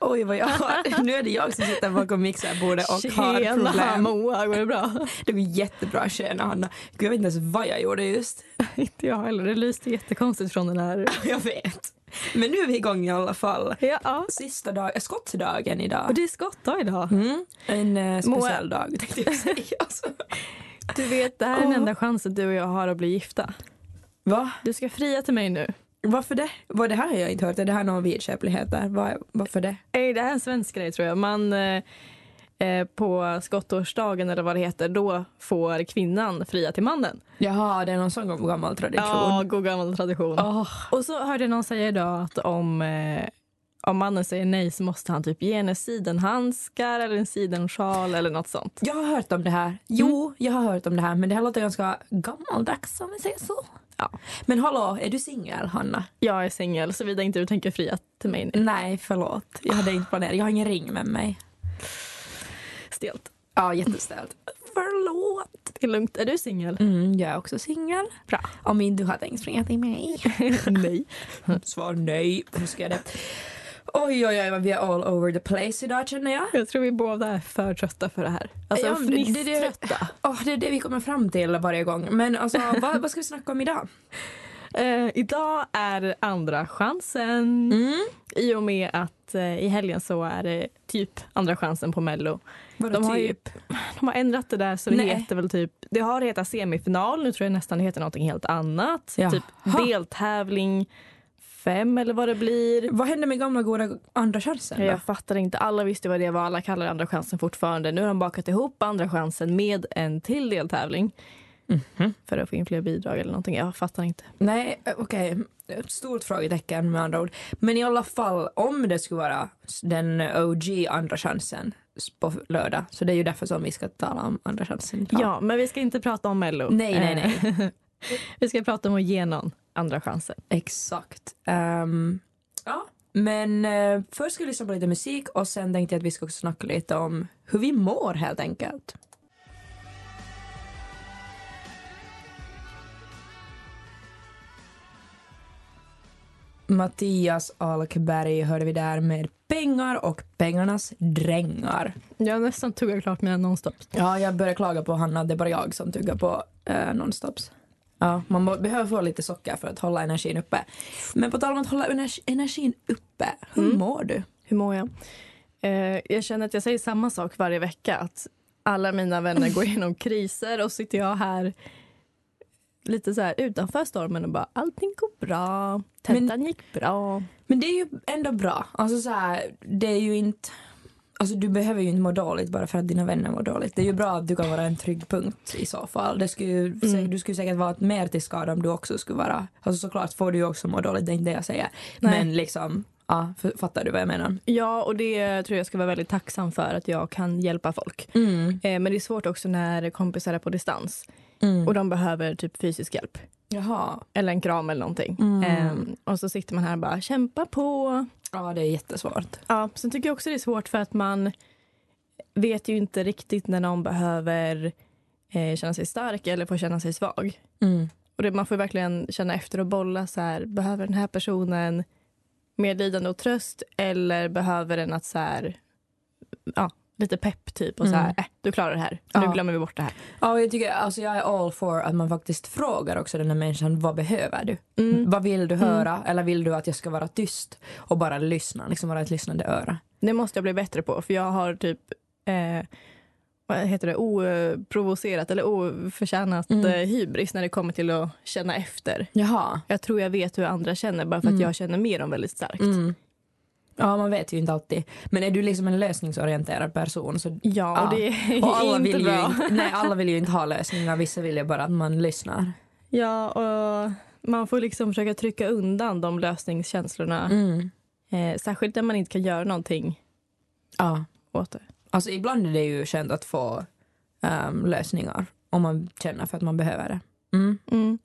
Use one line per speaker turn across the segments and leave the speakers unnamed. Oj vad jag har. Nu är det jag som sitter bakom mixerbordet och har
Tjena
problem.
Moa, går det bra?
Det går jättebra. Tjena Hanna. Gud, jag vet inte ens vad jag gjorde just.
Inte jag heller, det lyste jättekonstigt från den här.
Jag vet. Men nu är vi igång i alla fall.
Ja,
Sista dag, eh, skottdagen
och
idag.
det är skottdag idag.
Mm. En eh, speciell
Moa-
dag tänkte jag säga. Alltså.
Du vet, det här är den
Ja.
enda chansen du och jag har att bli gifta.
Va?
Du ska fria till mig nu.
Varför det? Vad det här har jag inte hört. Är det här någon vidskeplighet där? Var, varför det?
Nej, det här är en svensk grej tror jag. Man eh, eh, på skottårsdagen eller vad det heter, då får kvinnan fria till mannen.
Jaha, det är någon sån gammal tradition.
Ja, god gammal tradition.
Åh.
Och så hörde någon säga idag att om, eh, om mannen säger nej så måste han typ ge henne sidenhandskar eller en sidensjal eller något sånt.
Jag har hört om det här. Jo,
Mm.
jag har hört om det här. Men det här låter ganska gammaldags om vi säger så.
Ja.
Men hallå, är du singel Hanna?
Jag är singel såvida inte du tänker fria till mig nu.
Nej, förlåt. Jag hade inte planerat. Jag har ingen ring med mig.
Stelt.
Ja, jätteställt. Förlåt.
Det är lugnt. Är du singel?
Mm, jag är också singel.
Bra.
Om inte du har tänkt springa till mig. nej. Svar nej. Nu ska jag det. Oj, oj, oj, vad vi är all over the place idag känner jag.
Jag tror vi båda är för trötta för det här. Alltså
Ja, men det- det-
fnisströtta.
Åh, det är det vi kommer fram till varje gång. Men alltså, vad, vad ska vi snacka om idag?
Eh, idag är andra chansen.
Mm.
I och med att eh, i helgen så är det typ andra chansen på Mello.
Vadå
De har ju-
typ?
De har ändrat det där så det
Nej.
heter väl typ, det har hetat semifinal, nu tror jag nästan det heter någonting helt annat.
Jaha.
Typ deltävling fem eller vad det blir.
Vad hände med gamla goda andra chansen då?
Jag fattar inte, alla visste vad det var, alla kallar det andra chansen fortfarande. Nu har de bakat ihop andra chansen med en till deltävling. För att få in fler bidrag eller någonting, jag fattar inte.
Nej, eh, okej. Ett stort frågetecken med andra ord. Men i alla fall, om det skulle vara s- den OG andra chansen s- på f- lördag, så det är ju därför som vi ska tala om andra chansen idag.
Ja, men vi ska inte prata om Mello.
Nej, nej,
Eh,
nej.
Vi ska prata om att ge någon andra chansen.
Exakt. Ehm, ja. Men eh, först ska vi lyssna på lite musik och sen tänkte jag att vi ska också snacka lite om hur vi mår helt enkelt. Mattias Alkberg hörde vi där med pengar och pengarnas drängar.
Jag nästan tuggar klart mina nonstop.
Ja, jag börjar klaga på Hanna. Det är bara jag som tuggar på eh, nonstops. Ja, man må, behöver få lite socker för att hålla energin uppe. Men på tal om att hålla energi, energin uppe, hur
Mm.
mår du?
Hur mår jag? Eh, jag känner att jag säger samma sak varje vecka. Att alla mina vänner går igenom kriser och sitter jag här lite så här utanför stormen och bara allting går bra. Tentan gick bra.
Men det är ju ändå bra. Alltså så här, det är ju inte... Alltså du behöver ju inte må dåligt bara för att dina vänner mår dåligt. Det är ju bra att du kan vara en trygg punkt i så fall. Det skulle, ju- sä-
Mm.
Du skulle säkert vara mer till skada om du också skulle vara... Alltså såklart får du ju också må dåligt, det är inte det jag säger.
Nej.
Men liksom, ja, f- fattar du vad jag menar?
Ja, och det tror jag ska vara väldigt tacksam för att jag kan hjälpa folk. Eh, men det är svårt också när kompisar är på distans
Mm.
och de behöver typ fysisk hjälp.
Jaha.
Eller en kram eller någonting.
Mm.
Eh, och så sitter man här och bara kämpa på.
Ja, det är jättesvårt.
Ja, sen tycker jag också det är svårt för att man vet ju inte riktigt när någon behöver eh, känna sig stark eller får känna sig svag.
Mm.
Och det, man får verkligen känna efter och bolla så här, behöver den här personen medlidande och tröst eller behöver den att så här, ja, lite pepp typ och så här,
Mm.
äh, du klarar det här, nu
Ja.
glömmer vi bort det här.
Ja, jag, tycker, alltså jag är all for att man faktiskt frågar också den här människan vad behöver du?
Mm.
Vad vill du höra? Eller vill du att jag ska vara tyst och bara lyssna? Liksom vara ett lyssnande öra.
Det måste jag bli bättre på för jag har typ eh, vad heter det, oprovocerat eller oförtjänat
Mm.
eh, hybris när det kommer till att känna efter.
Jaha.
Jag tror jag vet hur andra känner bara för att jag känner med dem väldigt starkt.
Mm. Ja, man vet ju inte alltid. Men är du liksom en lösningsorienterad person så...
Ja, och
Ja.
det är
Och alla
inte
vill, ju
bra.
inte, nej, alla vill ju inte ha lösningar, vissa vill ju bara att man lyssnar.
Ja, och man får liksom försöka trycka undan de lösningskänslorna.
Mm.
Eh, särskilt när man inte kan göra någonting
Ja.
åt det.
Alltså ibland är det ju skönt att få eh, ehm, lösningar om man känner för att man behöver det. Mm.
Mm.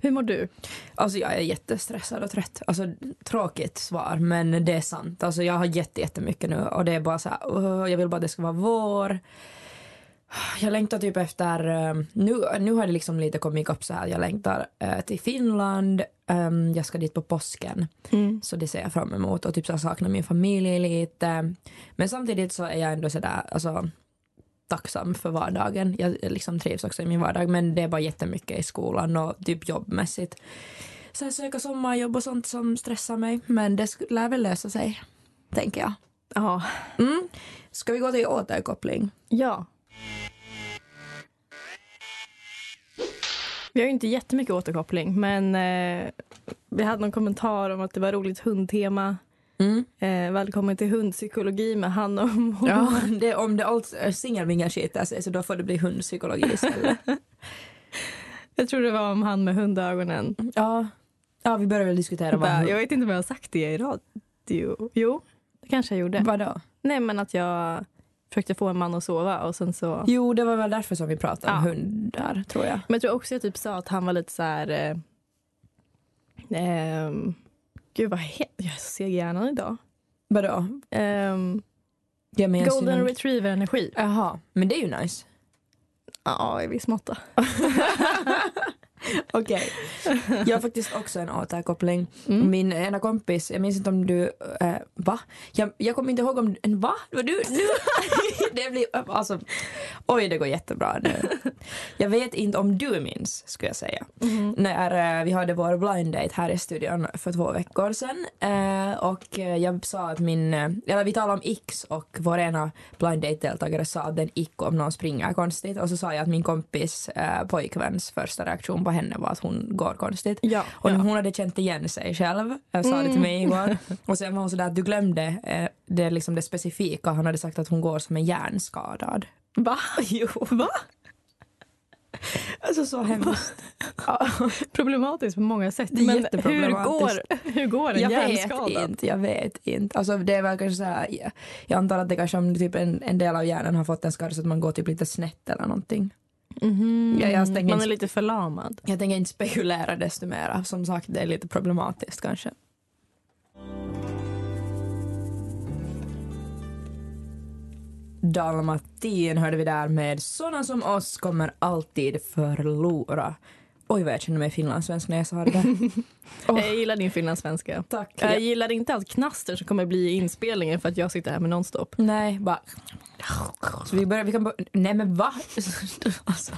Hur mår du?
Alltså jag är jättestressad och trött. Alltså tråkigt svar men det är sant. Alltså jag har jätte- jättemycket nu och det är bara så här, "Åh, jag vill bara att det ska vara vår. Jag längtar typ efter, eh, nu, nu har det liksom lite kommit upp så här, jag längtar eh, till Finland, Ehm, jag ska dit på påsken. Så det ser jag fram emot och typ så här saknar min familj lite. Men samtidigt så är jag ändå sådär, alltså tacksam för vardagen. Jag liksom trivs också i min vardag men det är bara jättemycket i skolan och typ jobbmässigt. Sen söka sommarjobb och sånt som stressar mig men det sk- lär väl lösa sig, tänker jag.
Ja.
Mm. Ska vi gå till återkoppling?
ja. Vi har ju inte jättemycket återkoppling, men eh, vi hade någon kommentar om att det var roligt hundtema.
Mm.
Eh, välkommen till hundpsykologi med Hanna och Moa.
Ja, det, om det allt singelvingar skiter sig så då får det bli hundpsykologi istället.
Jag tror det var om han med hundögonen.
ja. ja, vi börjar väl diskutera vad
Bara, jag vet inte om jag har sagt det i radio. Jo, det kanske jag gjorde.
Vadå?
Nej, men att jag försökte få en man att sova och sen så...
Jo, det var väl därför som vi pratade om
Ja.
hundar, tror jag.
Men jag tror också jag typ sa att han var lite så här... Eh, ehm, gud vad het... Jag är så seg i hjärnan idag.
Vadå?
Ehm,
Jag menar
golden retriever-energi.
Jaha, men det är ju nice.
Ja, i viss måtta.
Okej. Jag har faktiskt också en återkoppling.
Mm.
Min eh, ena kompis, jag minns inte om du, eh, va? Jag, jag kommer inte ihåg om, en va? Det var du? Nu? det blir, alltså, oj det går jättebra nu. Jag vet inte om du minns, skulle jag säga. När eh, vi hade vår blind date här i studion för två veckor sedan. Eh, och eh, jag sa att min, eh, eller vi talade om X och vår ena blind date-deltagare sa att den ick om någon springer konstigt. Och så sa jag att min kompis eh, pojkväns första reaktion på henne var att hon går konstigt.
Ja,
Och
ja. Mm.
hon hade känt igen sig själv, jag sa det till mig igår. Och sen var hon sådär att du glömde eh, det, är liksom det specifika, han hade sagt att hon går som en hjärnskadad.
Va? Jo. Va?
Alltså så hemskt.
Problematiskt på många sätt.
Det är
men hur
jätteproblematiskt.
går, hur går en
Jag
hjärnskadad?
vet inte, jag vet inte. Alltså det är väl kanske såhär, jag- jag antar att det kanske om typ en, en del av hjärnan har fått en skada så att man går typ lite snett eller någonting.
Mhm.
Ja, jag stänger
Man är
in-
lite förlamad.
Jag tänker inte spekulera desto mera, som sagt det är lite problematiskt kanske. Dalmatin hörde vi där med Såna som oss kommer alltid förlora. Oj vad jag känner mig finlandssvensk när jag sa det där. Åh.
Jag gillar din finlandssvenska.
Tack.
Jag gillar inte allt knaster som kommer bli i inspelningen för att jag sitter här med nonstop.
Nej, bara... Så vi börjar, vi kan börja... Nej men va? Alltså,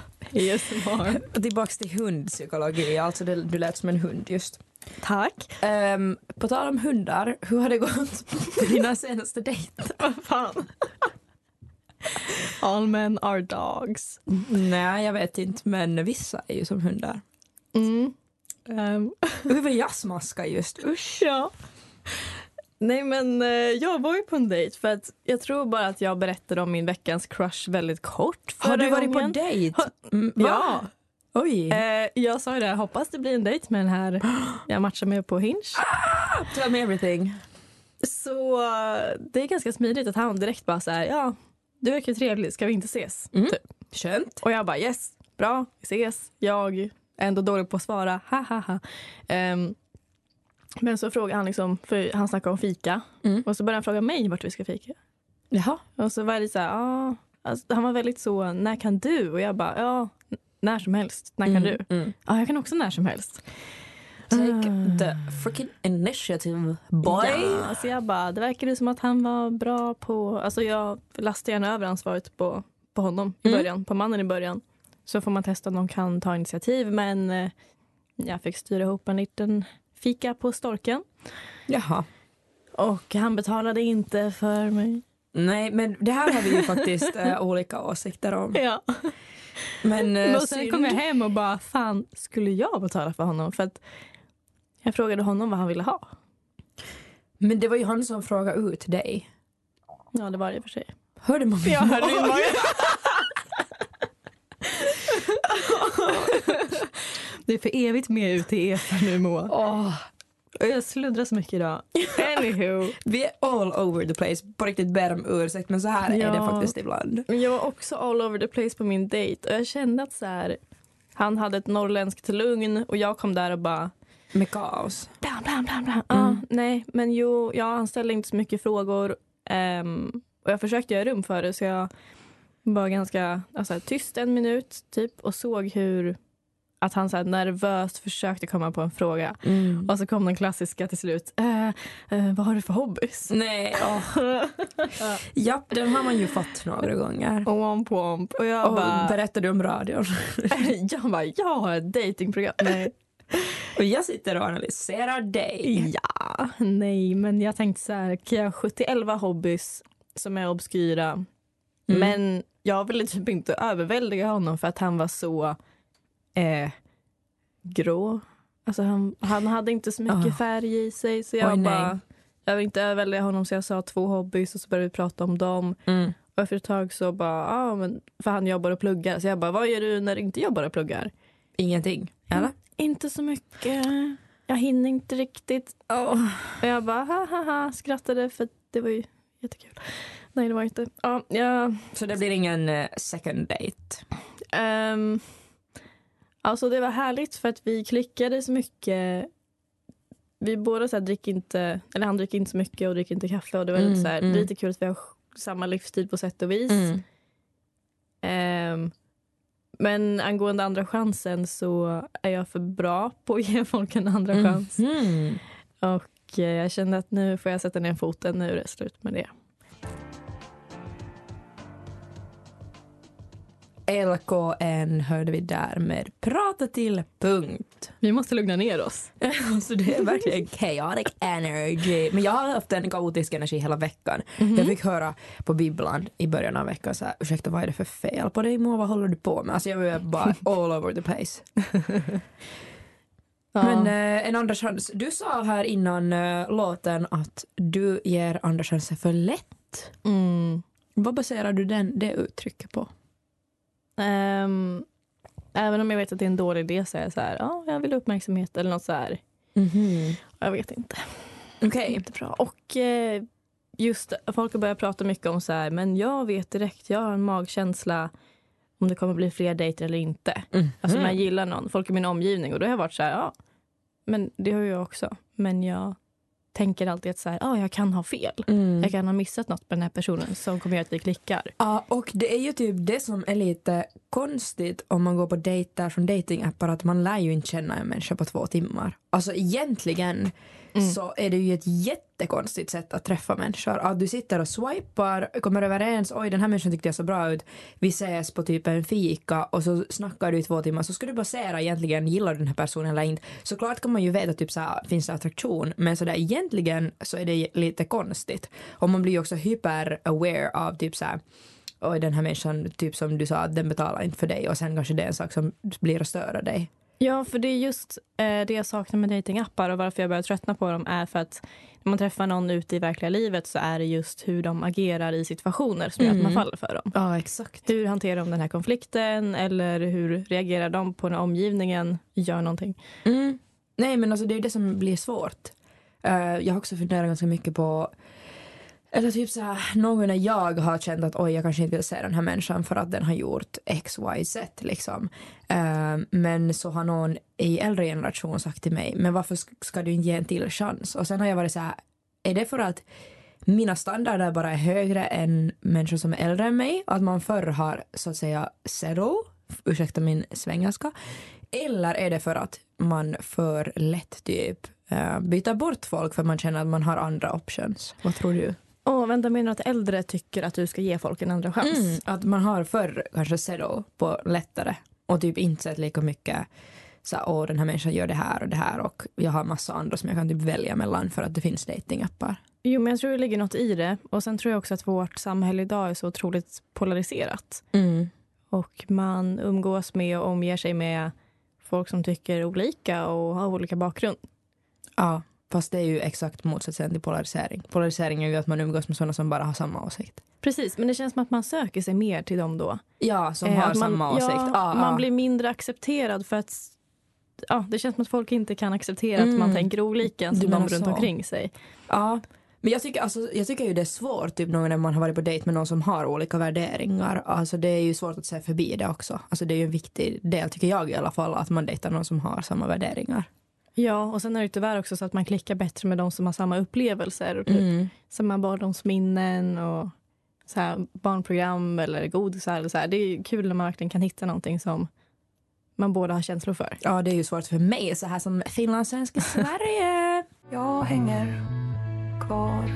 ASMR.
tillbaks till hundpsykologi, alltså det, du lät som en hund just.
Tack.
Ehm, på tal om hundar, hur har det gått på dina senaste dejter?
Vad fan. All men are dogs.
Nej, jag vet inte, men vissa är ju som hundar.
Mm. Ehm,
Uwe jag smaskar just, usch.
ja. Nej men eh, jag var ju på en dejt för att jag tror bara att jag berättade om min veckans crush väldigt kort förra
Har du varit på
gången.
dejt?
Ha-
Mm, va?
Ja,
Oj.
eh, jag sa ju det, jag hoppas det blir en dejt med den här jag matchar med på Hinge.
Tell me everything.
Så eh, det är ganska smidigt att han direkt bara så här, ja, du verkar ju trevlig, ska vi inte ses?
Mm. Skönt.
Och jag bara yes, bra, vi ses. Jag är ändå dålig på att svara, ha ha ha. Ehm, men så frågar han liksom, för han snackar om fika.
Mm.
Och så börjar han fråga mig vart vi ska fika.
Jaha.
Och så var jag lite så här, ah. alltså, han var väldigt så, när kan du? Och jag bara, ja, n- när som helst, när kan du?
Mm, mm. Ah.
Ja, jag kan också när som helst.
Take the freaking initiative, boy.
Ja, så jag bara, det verkar ju som att han var bra på... Alltså jag lastar gärna över ansvaret på, på honom i
Mm.
början, på mannen i början. Så får man testa om de kan ta initiativ, men eh, jag fick styra ihop en liten fika på storken.
Jaha.
Och han betalade inte för mig.
Nej, men det här har vi ju faktiskt eh, olika åsikter om.
Ja.
Men eh,
Och sen kom jag hem och bara, fan, skulle jag betala för honom? För att jag frågade honom vad han ville ha.
Men det var ju han som frågade ut dig.
Ja, det var det i och för sig.
Hörde man min mage?
Det är för evigt med ute i etern nu, Moa.
Åh,
Jag sluddrar så mycket idag. Anywho.
Vi är all over the place. På riktigt ber om ursäkt men så här är det
Ja.
faktiskt ibland.
Men jag var också all over the place på min dejt och jag kände att så här, han hade ett norrländskt lugn och jag kom där och bara
Med kaos.
bla bla bla bla. Ja,
Mm.
nej, men jo, ja, han ställde inte så mycket frågor Ehm, och jag försökte göra rum för det så jag var ganska alltså, tyst en minut typ och såg hur att han så här, nervöst försökte komma på en fråga.
Mm.
Och så kom den klassiska till slut. Eh, eh, vad har du för hobbys?
Nej, åh. Japp, den har man ju fått några gånger.
Omp, omp. Och jag
Mm. Och
bara...
berättar du om radion?
jag bara, jag har ett datingprogram. Nej.
Och jag sitter och analyserar dig.
ja, nej, men jag tänkte så här, kan jag 70-11 hobbys som är obskyra?
Mm.
Men jag ville typ inte överväldiga honom för att han var så eh, grå. Alltså han, han hade inte så mycket
Ah.
färg i sig så jag
Oj, nej.
bara, jag vill inte överväldiga honom så jag sa två hobbys och så började vi prata om dem.
Mm.
Och efter ett tag så bara, ah, men, för han jobbar och pluggar. Så jag bara, vad gör du när du inte jobbar och pluggar?
Ingenting. Eller?
Inte så mycket. Jag hinner inte riktigt. Och jag bara ha ha ha skrattade för det var ju jättekul. Nej det var inte. Ja, jag,
Så det blir ingen eh, second date.
ehm, alltså det var härligt för att vi klickade så mycket. Vi båda så här, dricker inte, eller han dricker inte så mycket och dricker inte kaffe och det var
Mm,
lite så här,
mm.
det är lite kul att vi har samma livsstil på sätt och vis. Ehm, men angående andra chansen så är jag för bra på att ge folk en andra chans.
Mm.
Och eh, jag kände att nu får jag sätta ner foten, nu är det slut med det.
LKN hörde vi där med Prata till punkt.
Vi måste lugna ner oss.
Alltså det är verkligen chaotic energy. Men jag har haft en kaotisk energi hela veckan.
Mm-hmm. Mm.
Jag fick höra på bibblan i början av veckan så här, ursäkta vad är det för fel på dig Moa, vad håller du på med? Alltså jag var bara all over the place. Men eh, en andra chans, du sa här innan eh, låten att du ger andra chanser för lätt.
mm.
Vad baserar du den, det uttrycket på?
Ehm, även om jag vet att det är en dålig idé så är jag så här, ja, jag vill ha uppmärksamhet eller något så här. Jag vet inte.
Okej.
Inte bra. Och eh, just folk har börjat prata mycket om så här, men jag vet direkt, jag har en magkänsla om det kommer bli fler dejter eller inte. Alltså
Mhm.
om jag gillar någon, folk i min omgivning. Och då har jag varit så här, ja, men det har ju jag också. Men jag tänker alltid att så här, ja, jag kan ha fel.
Mm.
Jag kan ha missat något med den här personen som kommer göra att vi klickar.
Ja, och det är ju typ det som är lite konstigt om man går på dejter från datingappar att man lär ju inte känna en människa på två timmar. Alltså egentligen så är det ju ett jättekonstigt sätt att träffa människor. Att du sitter och swipar, kommer överens, oj den här människan tyckte jag så bra ut, vi ses på typ en fika och så snackar du i två timmar så ska du basera egentligen, gillar du den här personen eller inte? Såklart kan man ju veta typ så här, finns det attraktion men sådär egentligen så är det lite konstigt. Och man blir ju också hyper aware av typ så här och den här människan, typ som du sa, att den betalar inte för dig och sen kanske det är en sak som blir att störa dig.
Ja, för det är just eh, det jag saknar med datingappar och varför jag börjar tröttna på dem är för att när man träffar någon ute i verkliga livet så är det just hur de agerar i situationer som gör att man faller för dem.
Ja, exakt.
Hur hanterar de den här konflikten eller hur reagerar de på när omgivningen gör någonting?
Mm. Nej, men alltså det är ju det som blir svårt. Eh, jag har också funderat ganska mycket på eller typ så här, någon gång när jag har känt att oj jag kanske inte vill se den här människan för att den har gjort x, y, z liksom. Eh, men så har någon i äldre generation sagt till mig men varför sk- ska du inte ge en till chans? Och sen har jag varit så här, är det för att mina standarder bara är högre än människor som är äldre än mig? Att man förr har så att säga zero, ursäkta min svengelska. Eller är det för att man för lätt typ eh, byta bort folk för man känner att man har andra options. Vad tror du?
Åh, vänta, menar du att äldre tycker att du ska ge folk en andra chans?
Mm, att man har förr kanske settle på lättare och typ inte sett lika mycket så här, åh den här människan gör det här och det här och jag har massa andra som jag kan typ välja mellan för att det finns datingappar.
Jo, men jag tror det ligger något i det. Och sen tror jag också att vårt samhälle idag är så otroligt polariserat. Mm. Och man umgås med och omger sig med folk som tycker olika och har olika bakgrund.
Ja, fast det är ju exakt motsatsen till polarisering. Polarisering är ju att man umgås med sådana som bara har samma åsikt.
Precis, men det känns som att man söker sig mer till dem då.
Ja, som
Eh,
har
att man,
samma åsikt. Ah,
Ja,
Ja,
man
ja.
blir mindre accepterad för att ja, det känns som att folk inte kan acceptera
Mm.
att man tänker olika än
Du
som de
menar
runt
så.
omkring sig.
Ja. Men jag tycker, alltså, jag tycker ju det är svårt typ någon när man har varit på dejt med någon som har olika värderingar. Alltså det är ju svårt att se förbi det också. Alltså det är ju en viktig del tycker jag i alla fall att man dejtar någon som har samma värderingar.
Ja, och sen är det tyvärr också så att man klickar bättre med de som har samma upplevelser och typ
Mm.
samma barndomsminnen och så här, barnprogram eller godisar. Eller så här. Det är ju kul när man verkligen kan hitta någonting som man båda har känslor för.
Ja det är ju svårt för mig så här som finlandssvensk i Sverige.
Jag hänger kvar.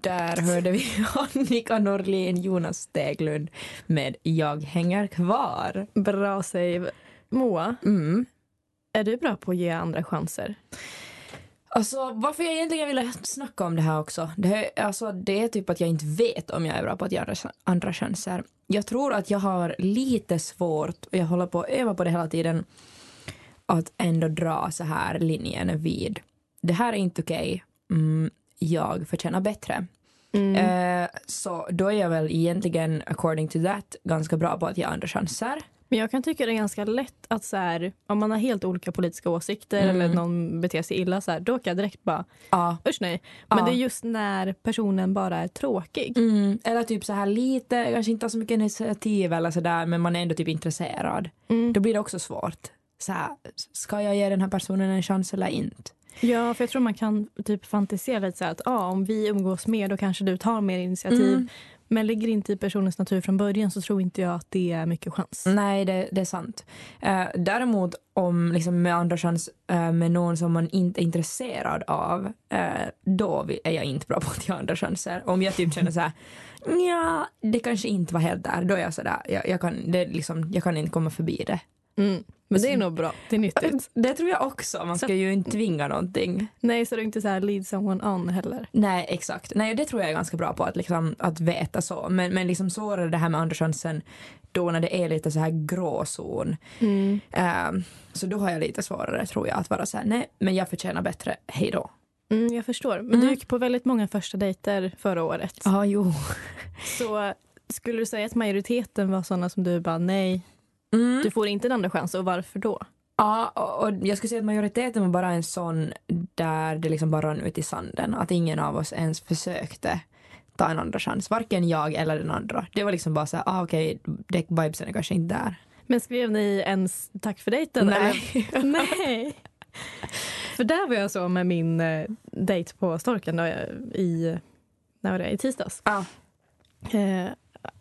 Där hörde vi Annika Norlin, Jonas Steglund med Jag hänger kvar.
Bra save. Moa,
Mm.
är du bra på att ge andra chanser?
Alltså varför jag egentligen ville snacka om det här också. Det, här, alltså, det är typ att jag inte vet om jag är bra på att göra ch- andra chanser. Jag tror att jag har lite svårt, och jag håller på att öva på det hela tiden, att ändå dra så här linjen vid. Det här är inte okej. Mm, jag förtjänar bättre. Eh, så då är jag väl egentligen, according to that, ganska bra på att ge andra chanser.
Men jag kan tycka det är ganska lätt att så här, om man har helt olika politiska åsikter
Mm.
eller någon beter sig illa så här, då kan jag direkt bara
Ja.
usch nej. Men
Ja.
det är just när personen bara är tråkig.
Mm, eller typ så här lite, kanske inte har så mycket initiativ eller sådär men man är ändå typ intresserad.
Mm.
Då blir det också svårt. Så här, ska jag ge den här personen en chans eller inte?
Ja, för jag tror man kan typ fantisera lite så här att ah, om vi umgås mer då kanske du tar mer initiativ.
Mm.
Men ligger det inte i personens natur från början så tror inte jag att det är mycket chans.
Nej, det, det är sant. Eh, däremot om liksom med andra chans eh, med någon som man inte är intresserad av, eh, då vi- är jag inte bra på att ge andra chanser. Om jag typ känner så här, ja, det kanske inte var helt där, då är jag sådär, jag, jag, kan, det är liksom, jag kan inte komma förbi det.
Mm. Men det är nog bra, det är nyttigt.
Det tror jag också, man ska ju inte tvinga någonting.
Nej, så du inte så här lead someone on heller.
Nej, exakt. Nej, det tror jag är ganska bra på att, liksom, att veta så. Men, men liksom svårare det här med andra chansen då när det är lite så här gråzon. Ehm, så då har jag lite svårare tror jag att vara så här, nej, men jag förtjänar bättre, hej då.
Mm, jag förstår. Men du gick på väldigt många första dejter förra året.
Ja, ah, jo.
Så skulle du säga att majoriteten var sådana som du bara nej,
Mm.
du får inte en andra chans och varför då?
Ja, och, och jag skulle säga att majoriteten var bara en sån där det liksom bara rann ut i sanden. Att ingen av oss ens försökte ta en andra chans, varken jag eller den andra. Det var liksom bara så här, ah, okej, okay, vibesen är kanske inte där.
Men skrev ni ens tack för dejten? Eller? nej. För där var jag så med min eh, dejt på Storken då, eh, i, när var det? i tisdags.
Ja.
Eh,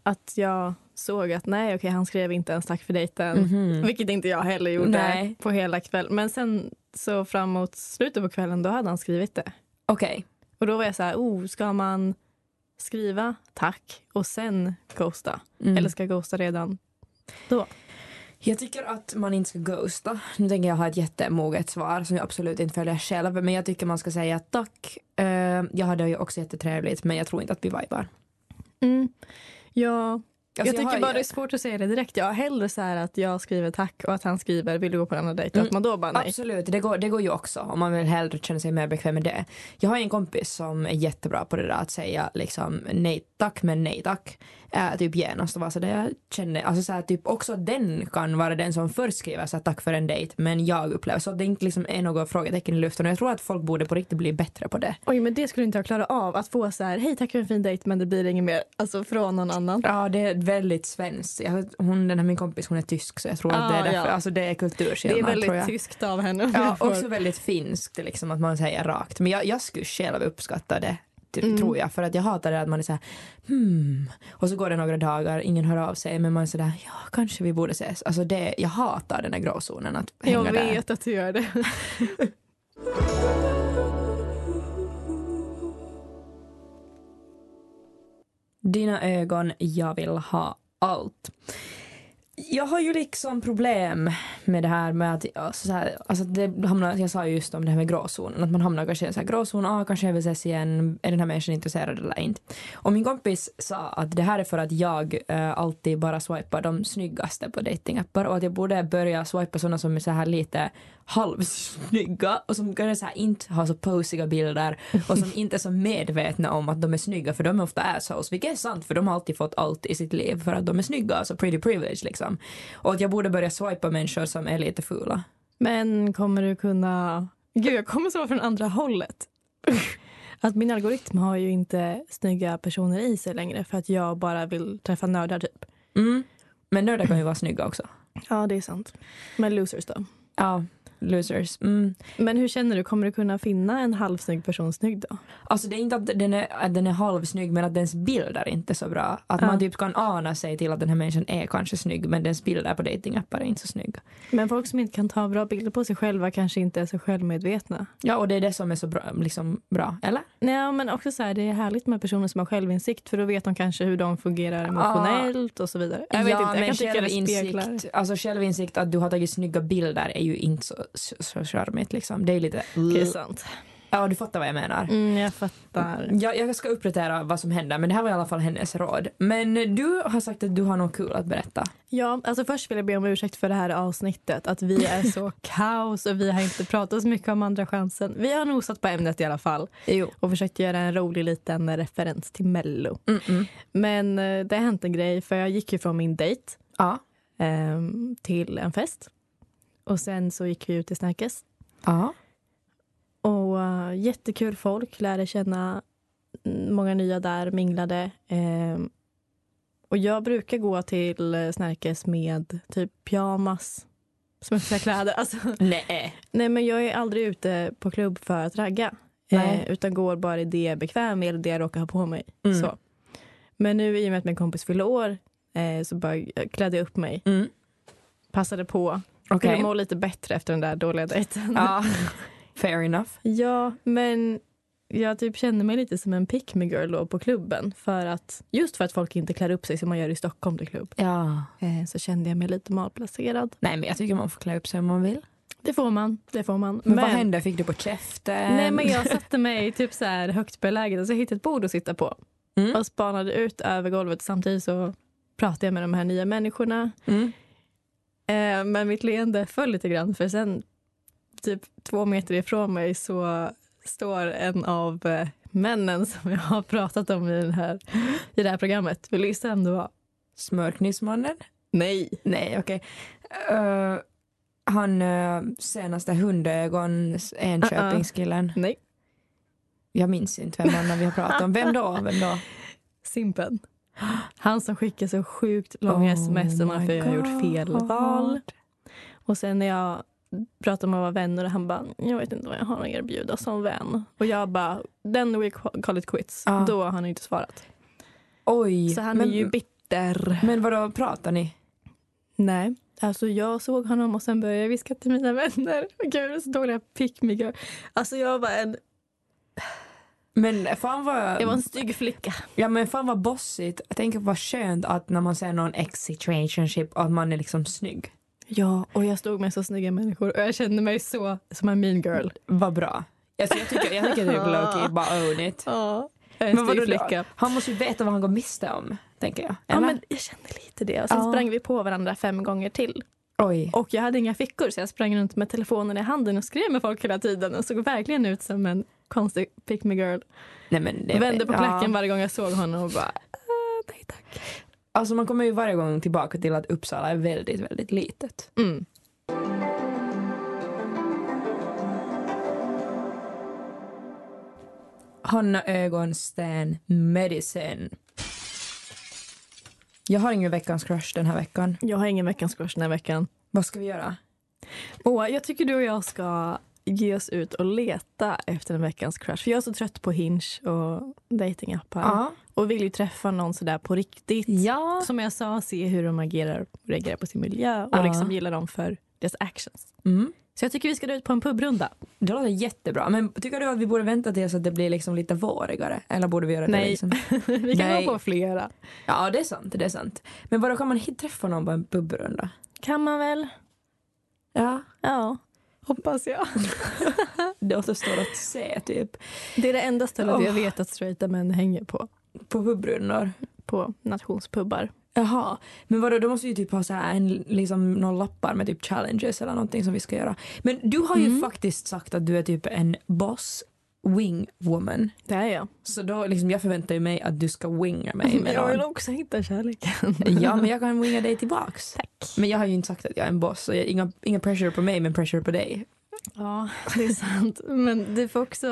att jag såg att nej, okej, han skrev inte ens tack för dejten.
Mm-hmm.
Vilket inte jag heller gjorde
Nej.
på hela kvällen. Men sen så framåt slutet på kvällen, då hade han skrivit det.
Okej.
Och då var jag så här, oh, ska man skriva tack och sen ghosta?
Mm.
Eller ska jag ghosta redan?
Jag tycker att man inte ska ghosta. Nu tänker jag ha ett jättemoget svar som jag absolut inte följer själv. Men jag tycker man ska säga tack. Eh, jag hade ju också jättetrevligt men jag tror inte att vi vibar. Alltså,
Ja, Mm. Alltså, jag tycker
har
bara
ju-
det är svårt att säga det direkt. Jag har hellre så här att jag skriver tack och att han skriver vill du gå på en annan dejt? Och
Mm.
Att man då bara nej.
Absolut, det går, det går ju också om man vill hellre känna sig mer bekväm med det. Jag har en kompis som är jättebra på det där att säga liksom nej tack men nej tack. Eh, typ genast och vara sådär jag känner, alltså såhär typ också den kan vara den som först skriver såhär tack för en dejt men jag upplever så att det inte liksom är något frågetecken i luften och jag tror att folk borde på riktigt bli bättre på det.
Oj, men det skulle inte jag klara av. Att få så här, hej tack för en fin dejt men det blir inget mer. Alltså från någon annan.
Ja, det är väldigt svenskt. Jag, hon, den här min kompis hon är tysk så jag tror att det är
Ah, ja.
därför. Alltså det är kulturskillnad
det är
tror jag.
väldigt tyskt av henne. om
Ja,
jag får-
också väldigt finskt liksom att man säger rakt. Men jag, jag skulle själv uppskatta det. t-
Mm.
tror jag, för att jag hatar det att man är såhär hmm, och så går det några dagar, ingen hör av sig, men man är sådär ja, kanske vi borde ses. Alltså det, jag hatar den här gråzonen att hänga
jag
där.
vet att du gör det.
Dina ögon, jag vill ha allt. Jag har ju liksom problem med det här med att, alltså så här, alltså det hamnar, jag sa ju just om det här med gråzonen, att man hamnar kanske i en så här gråzon, ah, kanske jag vill ses igen, är den här människan intresserad eller inte? Och min kompis sa att det här är för att jag eh, alltid bara swipar de snyggaste på datingappar och att jag borde börja swipa sådana som är så här lite halvsnygga och som kanske så här inte har så posiga bilder och som inte är så medvetna om att de är snygga för de är ofta assholes, vilket är sant för de har alltid fått allt i sitt liv för att de är snygga, alltså pretty privilege liksom. Och att jag borde börja swipa människor som är lite fula.
Men kommer du kunna... Gud, jag kommer svara från andra hållet. Att min algoritm har ju inte snygga personer i sig längre för att jag bara vill träffa nördar typ.
Mm. Men nördar kan ju vara snygga också.
Ja, det är sant. Men losers då?
Ja, losers. Mm.
Men hur känner du, kommer du kunna finna en halvsnygg person snygg då?
Alltså det är inte att den är, att den är halvsnygg men att dens bilder inte är så bra. Att
Ja.
man typ kan ana sig till att den här människan är kanske snygg men dens bilder på datingappar är inte så snygga.
Men folk som inte kan ta bra bilder på sig själva kanske inte är så självmedvetna.
Ja och det är det som är så bra, liksom bra, eller?
Nej, men också så här, det är härligt med personer som har självinsikt för då vet de kanske hur de fungerar emotionellt och så vidare. Jag vet
ja,
inte, jag
men
kan tycka det speglar.
självinsikt, alltså självinsikt att du har tagit snygga bilder är ju inte så, så, så charmigt liksom. Det är lite...
Det är sant.
Ja du fattar vad jag menar.
Mm, jag fattar.
Jag, jag ska uppdatera vad som hände men det här var i alla fall hennes råd. Men du har sagt att du har något kul att berätta.
Ja, alltså först vill jag be om ursäkt för det här avsnittet. Att vi är så kaos och vi har inte pratat så mycket om andra chansen. Vi har nosat på ämnet i alla fall.
Jo.
Och försökt göra en rolig liten referens till Mello.
Mm-mm.
Men eh, det har hänt en grej för jag gick ju från min dejt
Ja.
ehm, till en fest. Och sen så gick vi ut i Snärkes.
Ja.
Och eh, jättekul folk, lärde känna mm, många nya där, minglade. Ehm, och jag brukar gå till eh, Snärkes med typ pyjamas, smutsiga kläder. Alltså,
Nej.
nej men jag är aldrig ute på klubb för att ragga.
Nej.
Eh, utan går bara i det jag är bekväm med eller det jag råkar ha på mig.
Mm.
Så. Men nu i och med att min kompis fyllde år eh, så bara, jag klädde jag upp mig,
Mm.
passade på.
Okej.
Ville må lite bättre efter den där dåliga dejten.
Ja. Fair enough.
Ja, men jag typ känner mig lite som en pick me girl då på klubben. För att, just för att folk inte klär upp sig som man gör i Stockholm till klubb.
Ja.
Eh, så kände jag mig lite malplacerad.
Nej men jag tycker man får klä upp sig om man vill.
Det får man. Det får man.
Men, vad hände? Fick du på käften?
Nej, men jag satte mig typ så här högt beläget. Alltså jag hittade ett bord att sitta på.
Mm.
Och spanade ut över golvet. Samtidigt så pratade jag med de här nya människorna.
Mm.
Eh, men mitt leende föll lite grann för sen typ två meter ifrån mig så står en av eh, männen som jag har pratat om i, den här, i det här programmet. Vill du gissa vem det var?
Smörknivsmannen?
Nej.
Nej okej. Eh, han eh, senaste hundögon Enköpingskillen.
Uh-uh. Nej.
Jag minns inte vem annan vi har pratat om. Vem då? Vem då?
Simpen. Han som skickar så sjukt långa
Oh
sms om
my
varför jag har gjort fel
God.
val. Och sen när jag pratade om att vara vänner och han bara, jag vet inte vad jag har att erbjuda som vän. Och jag bara, then we call it quits.
Ja.
Då har han inte svarat.
Oj.
Så han
Ah. men,
är ju bitter.
men vadå pratar ni?
Nej. Alltså jag såg honom och sen började jag viska till mina vänner. Och Gud, jag är så dåliga pick me girl. Alltså jag var en,
Men fan vad,
jag var en stygg flicka.
ja, men fan vad bossigt. Jag tänker vad skönt att när man ser någon ex situationship att man är liksom snygg.
Ja, och jag stod med så snygga människor och jag kände mig så som en mean girl.
Vad bra. Alltså, jag tycker, jag tycker typ Loki bara own it.
Ja, jag är en
Men
stygg
vadå,
flicka.
Han måste ju veta vad han går miste om, tänker jag.
Ja,
Eller?
men jag kände lite det. Och sen
Ja.
sprang vi på varandra fem gånger till.
Oj.
Och jag hade inga fickor så jag sprang runt med telefonen i handen och skrev med folk hela tiden och såg verkligen ut som en konstig pick me girl.
Nej, men det,
Jag vände på klacken
Ja.
varje gång jag såg honom och bara "Ah, nej tack.
Alltså man kommer ju varje gång tillbaka till att Uppsala är väldigt, väldigt litet.
Mm.
Hanna Ögonsten Medicine. Jag har ingen veckans crush den här veckan.
Jag har ingen veckans kurs den här veckan.
Vad ska vi göra?
Åh, jag tycker du och jag ska ge oss ut och leta efter en veckans crush. För jag är så trött på Hinge och datingappar.
Ja.
Och vill ju träffa någon sådär på riktigt.
Ja.
Som jag sa, se hur de agerar, reagerar på sin miljö och
Ja.
liksom gilla dem för deras actions.
Mm.
Så jag tycker vi ska dra ut på en pubrunda.
Det låter jättebra. Men tycker du att vi borde vänta tills att det blir liksom lite vårigare? Eller borde vi göra det
Nej.
liksom?
vi kan
Nej.
gå på flera.
Ja, det är sant. Det är sant. Men vadå, kan man hit- träffa någon på en pubrunda?
Kan man väl?
Ja.
Ja. Hoppas jag.
Det återstår att se, typ.
Det är det enda stället
Åh.
jag vet att straighta män hänger på.
På pubrundor.
På nationspubbar.
Jaha, men vadå, då måste vi ju typ ha så här en, liksom, några lappar med typ challenges eller någonting som vi ska göra. Men du har ju
Mm.
faktiskt sagt att du är typ en boss wing woman.
Det är jag.
Så då liksom, jag förväntar ju mig att du ska winga mig med
jag vill
någon.
också hitta kärleken.
Ja, men jag kan winga dig tillbaks.
Tack.
Men jag har ju inte sagt att jag är en boss, så jag, inga, inga pressure på mig men pressure på dig.
Ja, det är sant. Men du får också...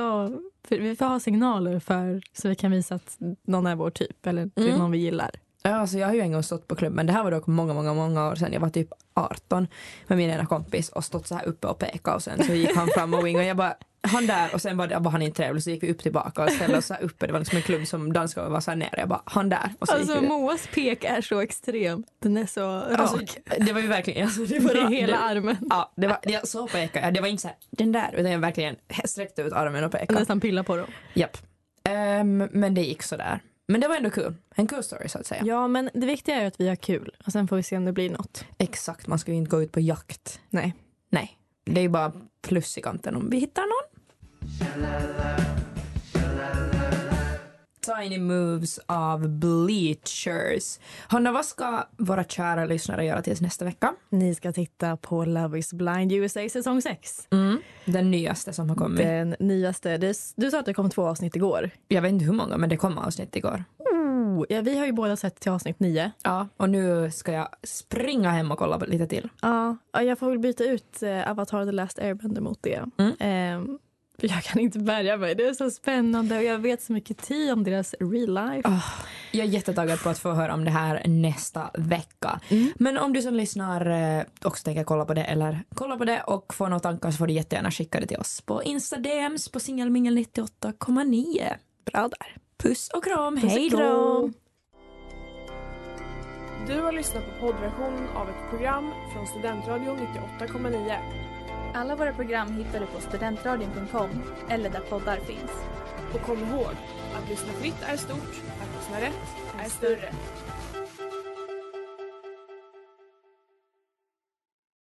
för Vi får ha signaler för så vi kan visa att någon är vår typ eller det är
Mm.
någon vi gillar.
Ja, så jag har ju en gång stått på klubben, det här var dock många, många, många år sedan, jag var typ 18 med min ena kompis och stått så här uppe och pekat och sen så gick han fram och wing och jag bara han där och sen var, det, var han inte trevlig så gick vi upp tillbaka och ställde oss så här uppe, det var liksom en klubb som dansgolvet var så här nere, jag bara han där och så
Alltså
gick vi.
Moas pek är så extrem. Den är så rak.
Alltså, det var ju verkligen, alltså, det
det är
var
hela
det,
armen.
Ja, det var, jag så pekade jag, det var inte så här den där utan jag verkligen sträckte ut armen och pekade.
Nästan pilla på dem.
Japp. Ehm, men det gick så där. Men det var ändå kul, en kul story så att säga.
Ja men det viktiga är ju att vi har kul och sen får vi se om det blir något.
Exakt, man ska ju inte gå ut på jakt.
Nej.
Nej, det är ju bara plus i kanten om vi hittar någon. Tiny Moves av Bleachers. Hanna, vad ska våra kära lyssnare göra tills nästa vecka?
Ni ska titta på Love is blind USA säsong 6.
Den nyaste som har kommit.
Den nyaste. Det- Du sa att det kom två avsnitt igår.
Jag vet inte hur många, men det kom avsnitt igår.
Oh, ja, vi har ju båda sett till avsnitt 9.
Ja, och nu ska jag springa hem och kolla lite till.
Ja, ja, jag får väl byta ut eh, Avatar The Last Airbender mot det.
Mm.
Ehm, för jag kan inte bärga mig. Det är så spännande och jag vet så mycket tid om deras real life.
Jag är jättetaggad på att få höra om det här nästa vecka.
Mm.
Men om du som lyssnar eh, också tänker kolla på det eller kolla på det och får några tankar så får du jättegärna skicka det till oss på Insta DMs på singelmingel 98,9.
Bra där.
Puss och kram,
Puss och
hej då!
kram.
Du har lyssnat på poddversionen av ett program från Studentradion 98,9.
Alla våra program hittar du på studentradion.com eller där poddar finns.
Och kom ihåg, att lyssna fritt är stort, att lyssna rätt är större.